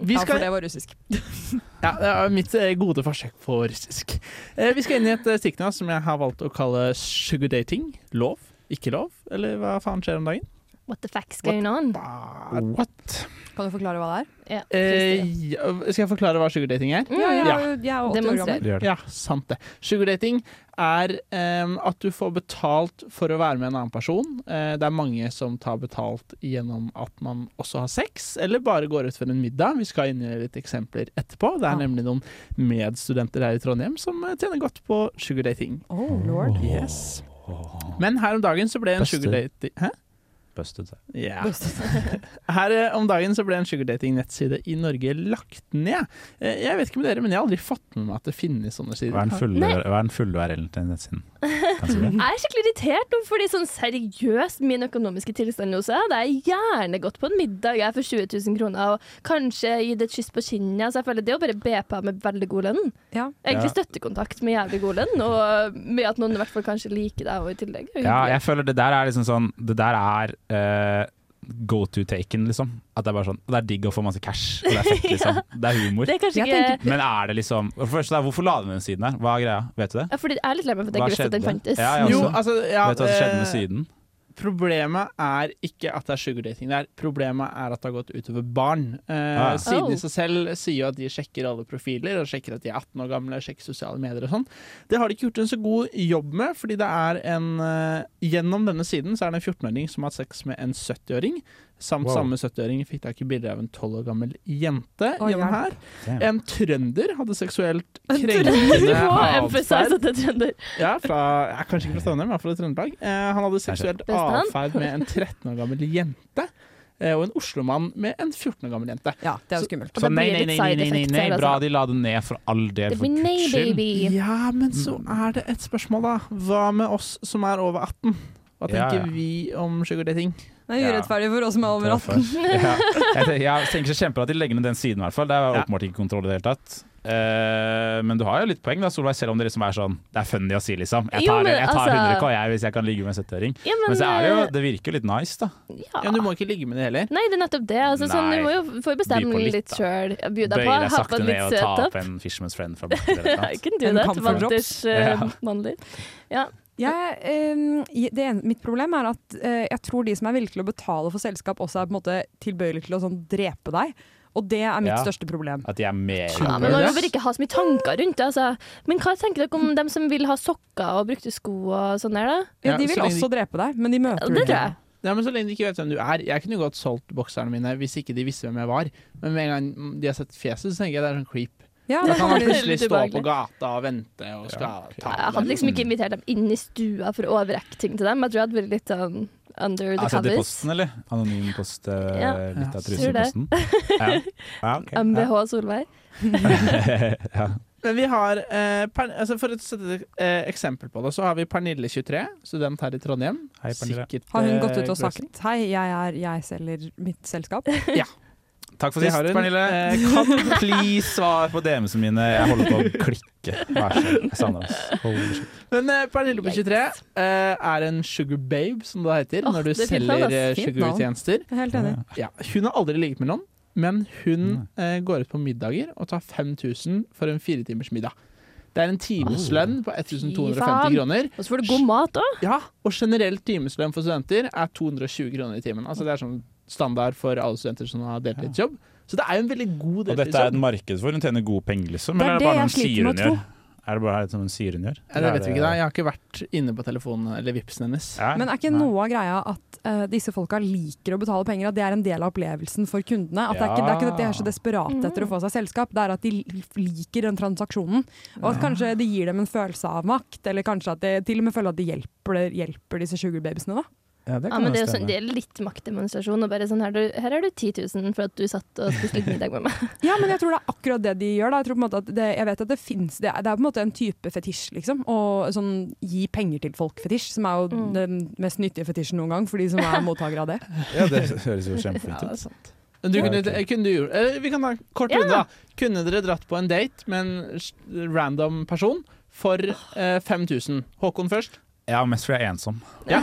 Speaker 5: Vi
Speaker 8: Ja,
Speaker 5: skal-
Speaker 8: for det var russisk.
Speaker 5: Ja, det er mitt eh, gode forsøk på russisk. Eh, vi skal inn i et eh, stikk nå som jeg har valgt å kalle sugar dating. Lov, ikke lov, eller hva faen skjer om dagen?
Speaker 7: What the facts going on?
Speaker 5: What?
Speaker 8: Kan du forklare hva det er?
Speaker 7: Ja,
Speaker 5: Eh, ja, skal jeg forklare hva sugar dating er?
Speaker 8: Ja, jeg, jeg er 80 år
Speaker 5: Demonstrer.
Speaker 8: gammel.
Speaker 5: Ja, sant det. Sugardating er em, at du får betalt for å være med en annen person. Eh, det er mange som tar betalt gjennom at man også har sex, eller bare går ut for en middag. Vi skal inn i litt eksempler etterpå. Det er nemlig noen medstudenter her i Trondheim som eh, tjener godt på sugardating.
Speaker 8: Oh, lord.
Speaker 5: Yes. Men her om dagen så ble en
Speaker 6: Buster.
Speaker 5: sugardating Hæ?
Speaker 6: Busted seg.
Speaker 5: Ja. Her eh, om dagen så ble en sugardating-nettside i Norge lagt ned. Eh, Jeg vet ikke med dere, men jeg har aldri fått med meg at det finnes sånne sider.
Speaker 6: Hva er den fulle, hva er den fulle URL-en til nettsiden?
Speaker 7: Mm. Jeg er skikkelig irritert nå, fordi sånn seriøst, min økonomiske tilstand nå, så hadde jeg gjerne gått på en middag jeg for 20 000 kroner, og kanskje gitt et kyss på kinnet. Så jeg føler det å bare be på med veldig god lønn.
Speaker 8: Ja.
Speaker 7: Egentlig
Speaker 6: Ja.
Speaker 7: støttekontakt med jævlig god lønn, og med at noen i hvert fall kanskje liker deg og i tillegg. er jo
Speaker 6: Ja,
Speaker 7: hyggelig.
Speaker 6: jeg føler det der er liksom sånn Det der er eh, go to taken, liksom. At det er bare sånn Det er digg å få masse cash, og det er fett, liksom. Det er humor.
Speaker 7: Det er kanskje ikke
Speaker 6: Men er det liksom for det første, Hvorfor la du ned den siden her? Hva er greia? Vet du det?
Speaker 7: ja, fordi Jeg er litt lei meg for at
Speaker 6: Hva
Speaker 7: jeg ikke visste at den
Speaker 6: skjedde?
Speaker 7: fantes.
Speaker 6: Ja, jeg
Speaker 5: Jo,
Speaker 6: også.
Speaker 5: altså, ja,
Speaker 6: Vet du hva som skjedde med
Speaker 5: eh,
Speaker 6: Syden?
Speaker 5: Problemet er ikke at det er sugardating der, problemet er at det har gått utover barn. Eh,
Speaker 6: Ah.
Speaker 5: Siden i
Speaker 7: Oh.
Speaker 5: seg selv sier jo at de sjekker alle profiler, og sjekker at de er 18 år gamle, sjekker sosiale medier og sånn. Det har de ikke gjort en så god jobb med, fordi det er en eh, Gjennom denne siden så er det en 14-åring som har hatt sex med en 70-åring. Samt
Speaker 6: Wow.
Speaker 5: samme 70-åring fikk tak i bilde av en 12 år gammel jente
Speaker 8: Å,
Speaker 5: gjennom
Speaker 8: hjelp.
Speaker 5: her.
Speaker 6: Damn.
Speaker 5: En trønder hadde seksuelt
Speaker 7: Du
Speaker 5: krenkende
Speaker 7: må
Speaker 5: atferd.
Speaker 7: emphasize at det er trønder.
Speaker 5: Ja, fra, ja, kanskje ikke fra Trondheim, men fra Trøndelag. Eh, han hadde seksuelt
Speaker 7: Bestand.
Speaker 5: avferd med en 13 år gammel jente. eh, Og en oslomann med en 14 år gammel jente.
Speaker 8: Ja, det er jo skummelt.
Speaker 7: Og
Speaker 6: Så
Speaker 7: det
Speaker 6: nei,
Speaker 7: blir
Speaker 6: nei, nei, nei, nei,
Speaker 7: litt
Speaker 6: nei,
Speaker 7: side-effekt
Speaker 6: nei,
Speaker 7: her,
Speaker 6: bra
Speaker 7: altså.
Speaker 6: de la den ned for all del,
Speaker 7: Det
Speaker 6: for
Speaker 7: blir nei,
Speaker 6: guds skyld.
Speaker 7: baby.
Speaker 5: Ja, men så er det et spørsmål, da. Hva med oss som er over 18? Hva
Speaker 6: Ja,
Speaker 5: tenker
Speaker 6: ja.
Speaker 5: vi om sugardating?
Speaker 8: Det er
Speaker 6: Ja.
Speaker 8: urettferdig for oss som er over 18.
Speaker 6: Ja. Jeg, tenker, jeg tenker så kjemper at de legger ned den siden, i hvert fall. Det er
Speaker 5: Ja.
Speaker 6: åpenbart ikke kontroll i det hele tatt. Eh, men du har jo litt poeng, da, Solveig, selv om det liksom er sånn Det er funny å si, liksom. Jeg
Speaker 7: Jo,
Speaker 6: tar,
Speaker 7: men
Speaker 6: jeg tar
Speaker 7: altså-
Speaker 6: 100K jeg, hvis jeg kan ligge med en 70-åring.
Speaker 7: Ja,
Speaker 6: Men så er det jo
Speaker 7: eh,
Speaker 6: Det virker jo litt nice, da.
Speaker 7: ja.
Speaker 5: Ja, men Du må ikke ligge med det heller.
Speaker 7: Nei, det er nettopp det. Altså, sånn,
Speaker 6: Nei.
Speaker 7: du må jo få
Speaker 6: By
Speaker 7: bestemme
Speaker 6: på litt,
Speaker 7: litt
Speaker 6: da.
Speaker 7: sjøl. Bøy
Speaker 6: Bøye deg sakte ned og ta
Speaker 7: opp.
Speaker 6: opp en Fisherman's Friend fra bakken. eller noe
Speaker 7: I
Speaker 6: sånt.
Speaker 7: can do
Speaker 8: En
Speaker 7: that,
Speaker 8: comfort
Speaker 7: Walters
Speaker 6: drops.
Speaker 7: eh, mandler.
Speaker 8: Jeg, ehm, je- det ene, mitt problem er at eh, jeg tror de som er villige til å betale for selskap, også er på en måte tilbøyelige til å sånn drepe deg. Og det er mitt
Speaker 6: Ja.
Speaker 8: største problem.
Speaker 6: At de er mer
Speaker 7: Ja, men man må bare ikke ha så mye tanker rundt det. Altså. Men hva tenker dere om dem som vil ha sokker og brukte sko og sånn der, da?
Speaker 8: Ja,
Speaker 5: Ja,
Speaker 8: de
Speaker 5: så
Speaker 8: vil
Speaker 5: lenge de-
Speaker 8: også drepe deg, men de
Speaker 7: Ja,
Speaker 8: møter
Speaker 7: Det
Speaker 8: du
Speaker 7: tror
Speaker 8: ikke.
Speaker 7: jeg.
Speaker 5: Ja, men Så lenge de ikke vet hvem du er. Jeg kunne godt solgt bokserne mine hvis ikke de visste hvem jeg var. Men med en gang de har sett fjeset, så tenker jeg det er sånn creep.
Speaker 8: Ja,
Speaker 5: Da
Speaker 8: da
Speaker 5: kan man
Speaker 8: kommer de-
Speaker 5: plutselig
Speaker 7: Litt
Speaker 5: stå
Speaker 7: ubehagelig.
Speaker 5: på gata og vente og skal ta
Speaker 7: Jeg hadde liksom ikke invitert dem inn i stua for å overrekke ting til dem. Jeg tror jeg hadde vært litt sånn under the
Speaker 6: Altså, det er
Speaker 7: covers.
Speaker 6: posten, eller? Anonym post, eh,
Speaker 7: Ja.
Speaker 6: litt av
Speaker 7: Tror det.
Speaker 6: truseposten. Ja. Ja, ok.
Speaker 7: MBH Solveig.
Speaker 6: ja.
Speaker 5: Men vi har eh, Pern- altså For å sette et eh, eksempel på det, så har vi Pernille 23, student her i Trondheim.
Speaker 6: Hei, Pernille.
Speaker 5: Sikkert,
Speaker 8: Har hun
Speaker 5: eh,
Speaker 8: gått ut og
Speaker 5: glad-
Speaker 8: sagt 'hei, jeg, er, jeg selger mitt selskap'?
Speaker 6: Takk for
Speaker 5: Det
Speaker 6: sist,
Speaker 5: har hun.
Speaker 6: Pernille.
Speaker 5: Eh,
Speaker 6: kan du please svare på DM-ene mine? Jeg holder på å klikke. Vær så snill. Jeg savner oss. Holy shit.
Speaker 5: Men eh, Pernille på 23 eh, er en sugar babe, som det heter,
Speaker 7: Åh,
Speaker 5: når du
Speaker 7: det er fint navn,
Speaker 5: selger eh,
Speaker 8: ass. Fint navn.
Speaker 5: sugar-tjenester.
Speaker 8: Jeg er Helt enig.
Speaker 5: Ja, hun har aldri ligget med noen, men hun eh, går ut på middager og tar 5000 for en firetimers middag. Det er en timeslønn på 1250
Speaker 7: faen.
Speaker 5: kroner.
Speaker 7: Og så får du god mat òg.
Speaker 5: Ja, og generelt timeslønn for studenter er 220 kroner i timen. Altså Det er sånn standard for alle studenter som har deltidsjobb. Så det er sånn- jo en veldig god
Speaker 6: Og dette er et
Speaker 5: deltidsjobb.
Speaker 6: marked for hun tjener gode penger, liksom?
Speaker 8: Det er
Speaker 6: Eller er
Speaker 8: det
Speaker 6: det bare
Speaker 8: jeg
Speaker 6: noen
Speaker 8: sliter
Speaker 6: sier
Speaker 8: med
Speaker 6: hun
Speaker 8: å
Speaker 6: gjør? Er det bare er det noen sier hun gjør?
Speaker 5: Ja, det vet vi ikke, da. Jeg har ikke vært inne på telefonen eller vipsen hennes.
Speaker 6: Ja.
Speaker 8: Men er ikke noe av greia at eh, disse folka liker å betale penger, at det er en del av opplevelsen for kundene? At det, er ikke, det er ikke at de er så
Speaker 7: Mm.
Speaker 8: desperate etter å få seg selskap, det er at de l- liker den transaksjonen. Og at kanskje det gir dem en følelse av makt, eller kanskje at de til og med føler at det hjelper, hjelper disse sugarbabysene, da.
Speaker 6: Ja, det
Speaker 7: Ja, men det er, jo sånn, det er litt maktdemonstrasjon. Og bare sånn her, du- her er du 10 000 for at du satt og spiste litt middag med meg.
Speaker 8: Ja, men jeg tror det er akkurat det de gjør. Da. Jeg, tror på en måte at det, jeg vet at det finnes det er, det er på en måte en type fetisj, liksom. Og sånn gi penger til folk-fetisj, som er jo
Speaker 7: Mm.
Speaker 8: den mest nyttige fetisjen noen gang for de som er mottakere av det.
Speaker 6: Ja, det høres jo kjempefint
Speaker 5: Ja, det
Speaker 6: ut.
Speaker 5: er sant. Men du
Speaker 6: Ja,
Speaker 5: kunne,
Speaker 6: ok.
Speaker 5: kunne du, gjort- eh, vi kan ta en kort
Speaker 7: Ja.
Speaker 5: runde, da. Kunne dere dratt på en date med en s- random person for eh, 5000? Håkon først.
Speaker 6: Ja, mest fordi jeg er ensom.
Speaker 5: Ja,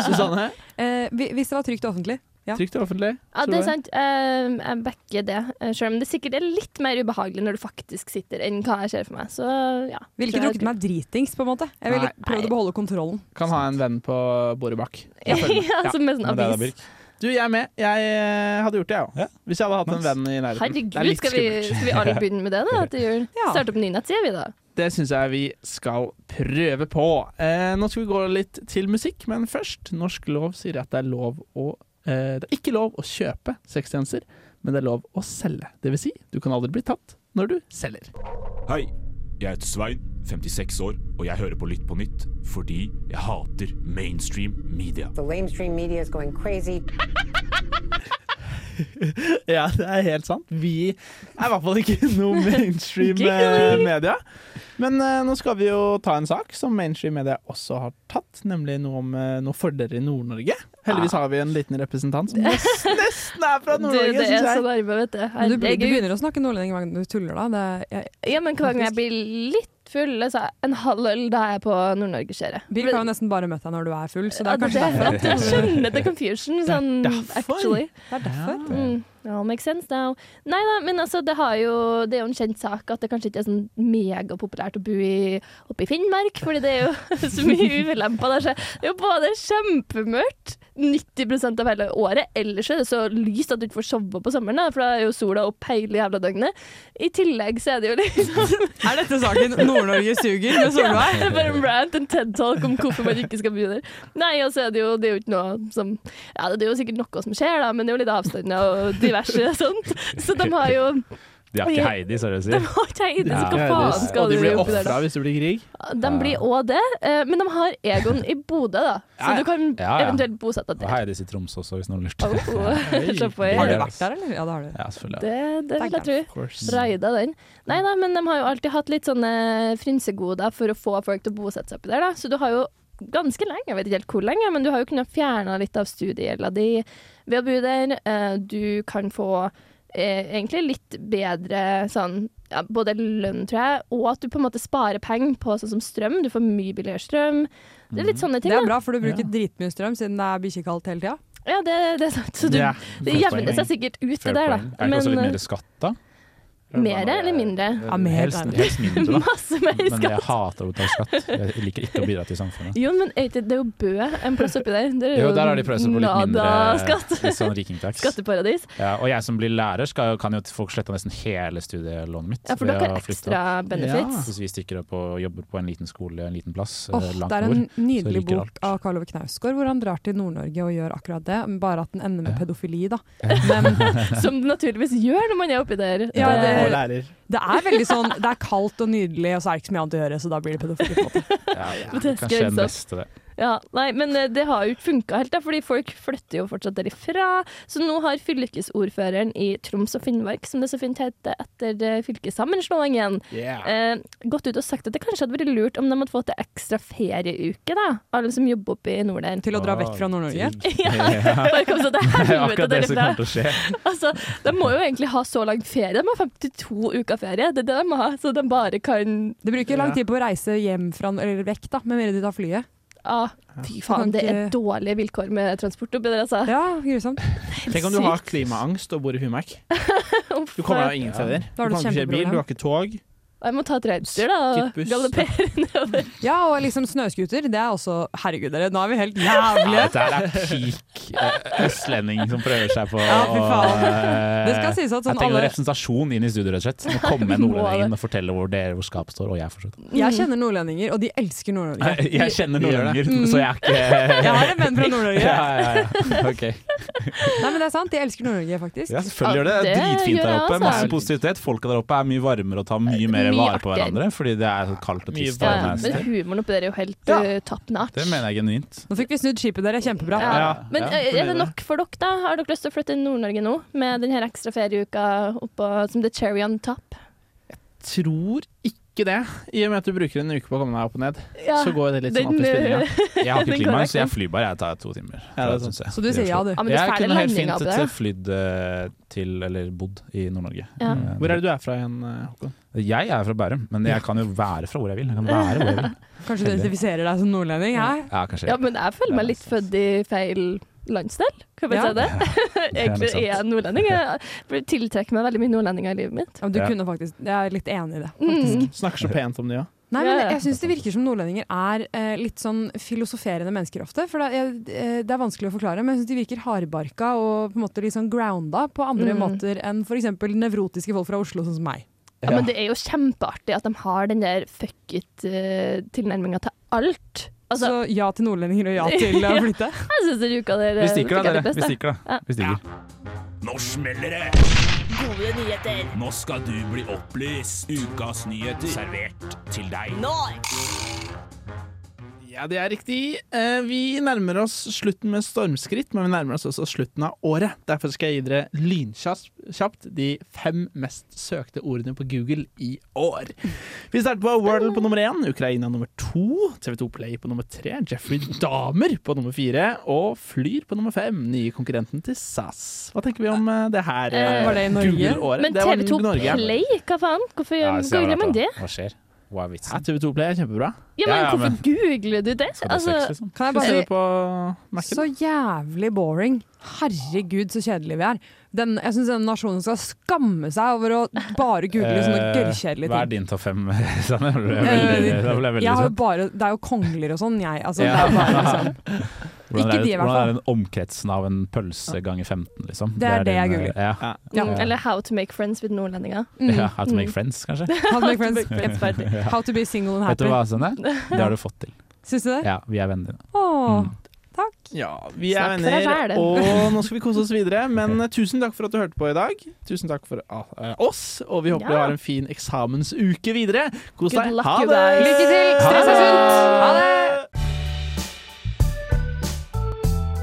Speaker 5: Susanne?
Speaker 8: Eh, hvi- hvis det var trygt og offentlig. Ja.
Speaker 5: Trygt og offentlig.
Speaker 7: Ja,
Speaker 5: tror
Speaker 7: det
Speaker 5: jeg.
Speaker 7: er sant. Eh, jeg backer det. Eh, Selv om det sikkert er litt mer ubehagelig når du faktisk sitter, enn hva jeg ser for meg. Så ja.
Speaker 8: Ville ikke
Speaker 7: Tror jeg
Speaker 8: drukket meg dritings, på en måte. Jeg ville
Speaker 5: Nei.
Speaker 8: prøvd å beholde kontrollen.
Speaker 5: Kan ha en venn på bordet bak.
Speaker 7: Ja,
Speaker 5: Selvfølgelig.
Speaker 7: som
Speaker 6: Men
Speaker 7: en sånn
Speaker 6: det er da,
Speaker 7: avis.
Speaker 6: Birk.
Speaker 5: Du, jeg er med. Jeg eh, hadde gjort det, jeg òg.
Speaker 6: Ja.
Speaker 5: Hvis jeg hadde hatt en venn i nærheten. Det er
Speaker 7: Herregud,
Speaker 5: litt
Speaker 7: skal vi,
Speaker 5: skummelt.
Speaker 7: skal vi alle begynne med det da til jul?
Speaker 8: Ja.
Speaker 7: Starte opp en ny nettside, vi da.
Speaker 5: Det syns jeg vi skal prøve på. Eh, nå skal vi gå litt til musikk, men først. Norsk lov sier at det er lov å eh, Det er ikke lov å kjøpe sextjenester, men det er lov å selge. Det vil si, du kan aldri bli tatt når du selger.
Speaker 2: Hei, jeg heter Svein, 56 år, og jeg hører på Lytt på nytt fordi jeg hater mainstream media.
Speaker 12: The lamestream media is going crazy.
Speaker 5: Ja, det er helt sant. Vi er i hvert fall ikke noe mainstream eh,
Speaker 7: Giggly.
Speaker 5: media. Men eh, nå skal vi jo ta en sak som mainstream media også har tatt, nemlig noe om eh, noen fordeler i Nord-Norge. Heldigvis har vi en liten representant som nes- nesten er fra
Speaker 7: Du,
Speaker 5: Nord-Norge,
Speaker 7: Ah. det er
Speaker 5: syns
Speaker 7: så
Speaker 5: jeg.
Speaker 7: nærme, vet du.
Speaker 8: Men Du, blir- du
Speaker 7: Herregud.
Speaker 8: begynner å snakke nordlending hver gang du tuller, da. Det, jeg,
Speaker 7: Ja, men hver gang jeg blir litt full, så er en halv øl da er jeg på Nord-Norge-skjæret.
Speaker 8: Birk har jo nesten bare møtt deg når du er full, så det er
Speaker 7: Ja,
Speaker 8: kanskje derfor.
Speaker 7: at jeg skjønner the confusion, sånn actually.
Speaker 8: Det er derfor.
Speaker 7: Mm. It all makes sense now. Nei da, men altså, det, har jo, det er jo en kjent sak at det kanskje ikke er sånn megapopulært å bo i, oppe i Finnmark, fordi det er jo så mye ulemper der. Så det er jo både kjempemørkt 90 av hele året, ellers er det så lyst at du ikke får sove på sommeren, da, for da er jo sola opp hele jævla døgnet. I tillegg så er det jo liksom
Speaker 8: Er dette saken 'Nord-Norge suger' med
Speaker 7: ja,
Speaker 8: Solveig?
Speaker 7: det er bare en rant, en TED-talk om hvorfor man ikke skal bo der. Nei, og så er det jo, det er jo ikke noe som Ja, det er jo sikkert noe som skjer, da, men det er jo litt avstander og diverse sånt. Så de har jo
Speaker 3: De har ikke Heidi, seriøst.
Speaker 7: De har ikke eid, så hva faen
Speaker 5: Og
Speaker 7: skal
Speaker 5: de
Speaker 7: du
Speaker 5: blir
Speaker 7: oppi der,
Speaker 5: ofra
Speaker 7: da?
Speaker 5: hvis det blir krig.
Speaker 7: De blir òg det, eh, men de har Egon i Bodø, da, så
Speaker 6: Ja, ja.
Speaker 7: du kan
Speaker 6: Ja, ja.
Speaker 7: eventuelt bosette
Speaker 6: Og
Speaker 7: deg der.
Speaker 6: Heidi sitt Tromsø også, hvis noen lurte.
Speaker 7: Oh, oh. Se på
Speaker 8: Har du
Speaker 7: det.
Speaker 8: vært der, eller? Ja, det har du.
Speaker 6: Ja, selvfølgelig.
Speaker 7: Det, det vil jeg tro.
Speaker 5: Of course.
Speaker 7: Raida den. Nei da, men de har jo alltid hatt litt sånne frynsegoder for å få folk til å bosette seg oppi der, da. Så du har jo ganske lenge, jeg vet ikke helt hvor lenge, men du har jo kunnet fjerne litt av studiegjelda di ved å bo der. Eh, Du kan få eh, egentlig litt bedre sånn ja, både lønn, tror jeg, og at du på en måte sparer penger på sånn som strøm. Du får mye billigere strøm. Det er litt sånne ting,
Speaker 8: Mm. Det er
Speaker 7: da.
Speaker 8: bra, for du bruker dritmye strøm siden det er bikkjekaldt hele tida.
Speaker 7: Ja, det, det er sant. Så du,
Speaker 5: Ja.
Speaker 7: det
Speaker 6: Godt
Speaker 7: jevner
Speaker 6: poeng.
Speaker 7: seg sikkert ut, det
Speaker 6: Fair
Speaker 7: der,
Speaker 6: point.
Speaker 7: da.
Speaker 6: Er det ikke også litt
Speaker 7: Men
Speaker 6: mer skatt, da?
Speaker 7: mer eller mindre?
Speaker 8: Ja, mer
Speaker 6: helst,
Speaker 8: der.
Speaker 6: helst mindre, da.
Speaker 7: Masse mer
Speaker 6: Men
Speaker 7: skatt.
Speaker 6: jeg hater å betale skatt. Jeg liker ikke å bidra til samfunnet.
Speaker 7: Jo, men er ikke- det er jo Bø en plass oppi der. Det er
Speaker 6: Jo, der har de prøvd seg på litt mindre
Speaker 7: nada-skatt.
Speaker 6: litt sånn rikingtax.
Speaker 7: Skatteparadis.
Speaker 6: Ja, og jeg som blir lærer, skal, jo- kan jo få sletta nesten hele studielånet mitt.
Speaker 7: Ja, for
Speaker 6: ved
Speaker 7: dere
Speaker 6: å
Speaker 7: har
Speaker 6: flytte
Speaker 7: ekstra benefits.
Speaker 6: Hvis vi stikker opp og jobber på en liten skole, en liten plass,
Speaker 8: Åh,
Speaker 6: eh, langt
Speaker 8: det er
Speaker 6: nord.
Speaker 8: en nydelig
Speaker 6: liker
Speaker 8: bok
Speaker 6: alt.
Speaker 8: av Karl Ove Knausgård hvor han drar til Nord-Norge og gjør akkurat det, men bare at den ender med pedofili, da. Men
Speaker 7: Som det naturligvis gjør når man er oppi der.
Speaker 8: Ja,
Speaker 7: Det-
Speaker 8: det-
Speaker 5: Og lærer.
Speaker 8: det er veldig sånn Det er kaldt og nydelig, og så er det ikke så mye annet å gjøre, så da blir det pedofili. på en måte.
Speaker 6: Ja, ja.
Speaker 7: Det er
Speaker 6: Kanskje eh, den
Speaker 7: grensa.
Speaker 6: beste, det.
Speaker 7: Ja, nei, men eh, det har jo ikke funka helt, da, fordi folk flytter jo fortsatt derifra. Så nå har fylkesordføreren i Troms og Finnmark, som det så fint heter etter eh, fylkessammenslåingen, eh, gått ut og sagt at det kanskje hadde vært lurt om de hadde fått ei ekstra ferieuke, da. Alle som jobber oppi nord der.
Speaker 8: Til å dra vekk fra Nord-Norge.
Speaker 6: Ah,
Speaker 7: Ja, bare kom så til helvete
Speaker 6: Akkurat det som
Speaker 7: derifra.
Speaker 6: kommer til å skje.
Speaker 7: Altså, de må jo egentlig ha så lang ferie. De har 52 uker ferie, det er det de må ha. Så de bare kan
Speaker 8: Det bruker lang tid på å reise hjem fra, eller vekk, da, med mindre du tar flyet.
Speaker 7: ah, Fy faen, det er dårlige vilkår med transport oppi der, altså.
Speaker 8: Ja, grusomt.
Speaker 5: Tenk om du har klimaangst og bor i Finnmark. Du kommer deg jo ingen steder. Du
Speaker 8: Da har du
Speaker 5: kan ikke kjøre bil,
Speaker 8: kjempeproblem.
Speaker 5: du har ikke tog.
Speaker 7: Jeg må ta et reinsdyr, da. og
Speaker 5: Skittbuss.
Speaker 7: Galoppere nedover.
Speaker 8: Ja, og liksom snøscooter, det er også Herregud, dere, nå er vi helt jævlige!
Speaker 6: Ja, dette her er peak eh, østlending som prøver seg på
Speaker 8: Ja, fy faen.
Speaker 6: å- eh,
Speaker 8: Det skal sies at sånn
Speaker 6: Jeg trenger
Speaker 8: alle-
Speaker 6: representasjon inn i studio, rett og slett. Nå kommer en nordlending inn og forteller hvor dere hvor skapet står, og jeg fortsatt.
Speaker 8: Jeg kjenner nordlendinger, og de elsker Nord-Norge.
Speaker 6: Jeg, jeg kjenner nordlendinger, så jeg er ikke
Speaker 8: Jeg har en venn fra Nord-Norge.
Speaker 6: Ja, ja, ja. Ok.
Speaker 8: Nei, men det er sant, de elsker Nord-Norge, faktisk.
Speaker 6: Ja, selvfølgelig gjør det. Det er
Speaker 7: Ja, det
Speaker 6: dritfint
Speaker 7: gjør
Speaker 6: der
Speaker 7: jeg
Speaker 6: oppe.
Speaker 7: også.
Speaker 6: Masse positivitet. Folka der oppe er mye varmere og tar mye mer
Speaker 7: Mye
Speaker 6: vare på
Speaker 7: artigere.
Speaker 6: hverandre fordi det er så kaldt og
Speaker 5: Mye
Speaker 6: trist.
Speaker 7: Ja,
Speaker 6: og nasty.
Speaker 7: men humoren oppi der er jo helt
Speaker 6: Ja.
Speaker 7: eh, top notch.
Speaker 6: Det mener jeg genuint.
Speaker 8: Nå fikk vi snudd skipet, dere. Kjempebra.
Speaker 7: Ja.
Speaker 6: Ja,
Speaker 7: Men
Speaker 6: ja,
Speaker 5: blir
Speaker 7: eh, er det
Speaker 5: det.
Speaker 7: nok for dere, da? Har dere lyst til å flytte til Nord-Norge nå? Med denne ekstra ferieuka oppå som the cherry on top?
Speaker 5: Tror ikke ikke det, i og med at du bruker en uke på å komme deg opp og ned.
Speaker 7: Ja,
Speaker 5: så går det litt sånn opp
Speaker 7: den,
Speaker 5: i spinninga.
Speaker 7: øh,
Speaker 6: Jeg har ikke
Speaker 7: den
Speaker 6: klima,
Speaker 7: går
Speaker 6: så jeg
Speaker 7: ikke.
Speaker 6: flyr bare. Jeg tar to timer.
Speaker 5: Ja, det er
Speaker 6: synes jeg.
Speaker 5: Så du sier ja, du. Ja, men det er
Speaker 6: Jeg
Speaker 5: feil
Speaker 6: kunne helt
Speaker 5: landing av
Speaker 6: fint
Speaker 5: det.
Speaker 6: eh, flydd eh, til, eller bodd, i Nord-Norge.
Speaker 7: Ja.
Speaker 6: Eh,
Speaker 5: Hvor er det du er fra igjen, eh, Håkon?
Speaker 6: Jeg er fra Bærum, men jeg kan jo være fra hvor jeg vil. Jeg kan være hvor jeg vil.
Speaker 8: Kanskje du identifiserer deg som nordlending? Hæ?
Speaker 6: Ja, kanskje.
Speaker 7: Ja, men jeg føler meg litt født i feil landsdel, kan vi
Speaker 8: Ja.
Speaker 7: si det? Egentlig
Speaker 8: sant.
Speaker 7: er jeg nordlending. Jeg tiltrekker meg veldig mye nordlendinger i livet mitt.
Speaker 8: Ja, men du kunne faktisk, Jeg er litt enig i det.
Speaker 5: Snakker så pent om de òg.
Speaker 8: Nei, men
Speaker 7: Mm. Ja, ja.
Speaker 8: jeg syns det virker som nordlendinger er eh, litt sånn filosoferende mennesker ofte. For det er, eh, det er vanskelig å forklare, men jeg syns de virker hardbarka og på en måte litt sånn grounda på andre
Speaker 7: Mm.
Speaker 8: måter enn f.eks. nevrotiske folk fra Oslo, sånn som meg.
Speaker 7: Ja, men det er jo kjempeartig at de har den der fuck it-tilnærminga til alt. Altså,
Speaker 8: Så ja til nordlendinger og ja til å flytte?
Speaker 7: jeg syns den uka der
Speaker 6: Vi stikker da,
Speaker 7: er eh, det
Speaker 6: dere.
Speaker 7: beste.
Speaker 6: Vi stikker da.
Speaker 7: Ja.
Speaker 6: Vi stikker.
Speaker 2: Nå smeller det!
Speaker 1: Gode nyheter.
Speaker 2: Nå skal du bli opplyst. Ukas nyheter servert til deg.
Speaker 5: Ja, det er riktig. Eh, Vi nærmer oss slutten med stormskritt, men vi nærmer oss også slutten av året. Derfor skal jeg gi dere lynkjapt de fem mest søkte ordene på Google i år. Vi starter på World på nummer én, Ukraina nummer to, TV2 Play på nummer tre, Jeffrey Dahmer på nummer fire og Flyr på nummer fem, nye konkurrenten til SAS. Hva tenker vi om eh, det her eh, Google-året?
Speaker 7: Men
Speaker 5: Det var
Speaker 7: TV2
Speaker 5: Norge.
Speaker 7: Play, hva faen? Hvorfor
Speaker 6: Ja, så jævla
Speaker 7: googler man
Speaker 6: bra.
Speaker 7: det?
Speaker 6: Hva skjer? Hva er
Speaker 5: Ja,
Speaker 6: vitsen?
Speaker 5: TV2 Play er kjempebra.
Speaker 7: Ja,
Speaker 6: Ja,
Speaker 7: men
Speaker 6: ja,
Speaker 7: hvorfor
Speaker 6: men-
Speaker 7: googler du det?
Speaker 6: Skal det
Speaker 7: Altså,
Speaker 6: sex, liksom?
Speaker 8: Kan jeg
Speaker 5: Skal
Speaker 8: bare
Speaker 5: vi se på
Speaker 8: Så jævlig boring. Herregud, så kjedelige vi er. Den, jeg syns denne nasjonen skal skamme seg over å bare google sånne
Speaker 6: Eh, Hva
Speaker 8: gørrkjedelige
Speaker 6: er
Speaker 8: ting.
Speaker 6: din topp fem, Sanne? Da ble jeg veldig, da ble jeg
Speaker 8: Eh,
Speaker 6: veldig
Speaker 8: Jeg har jo
Speaker 6: sånn.
Speaker 8: bare, det er jo kongler og sånn, jeg. Altså,
Speaker 6: Ja.
Speaker 8: det er bare liksom
Speaker 6: Hvordan
Speaker 8: Ikke
Speaker 6: er,
Speaker 8: de, i hvert
Speaker 6: hvordan er den omkretsen av en pølse ganger 15, liksom?
Speaker 7: Det er det jeg
Speaker 6: den,
Speaker 7: googler.
Speaker 6: eh, Ja.
Speaker 7: ja.
Speaker 6: Eh,
Speaker 7: mm, Eller How to make friends with nordlendinger.
Speaker 6: ja, How to make friends, kanskje?
Speaker 8: How to make friends.
Speaker 7: friends.
Speaker 6: Ja.
Speaker 8: How to be single and
Speaker 6: Vet du
Speaker 8: happy.
Speaker 6: hva, Sanne? Det har du fått til.
Speaker 8: Syns du det?
Speaker 6: Ja, Mm. vi er venner. nå.
Speaker 8: Åh.
Speaker 5: Ja, vi er
Speaker 6: Snakk for deg
Speaker 5: venner,
Speaker 6: selv.
Speaker 5: og nå skal vi kose oss videre. Men eh, tusen takk for at du hørte på i dag. Tusen takk for eh, oss, og vi håper
Speaker 6: Ja.
Speaker 5: du har en fin eksamensuke videre. Kos
Speaker 6: Good
Speaker 5: deg.
Speaker 6: luck,
Speaker 5: Ha
Speaker 6: you
Speaker 5: det!
Speaker 6: guys. Lykke til.
Speaker 5: Ha
Speaker 6: Stress deg
Speaker 5: det!
Speaker 6: sunt.
Speaker 13: Ha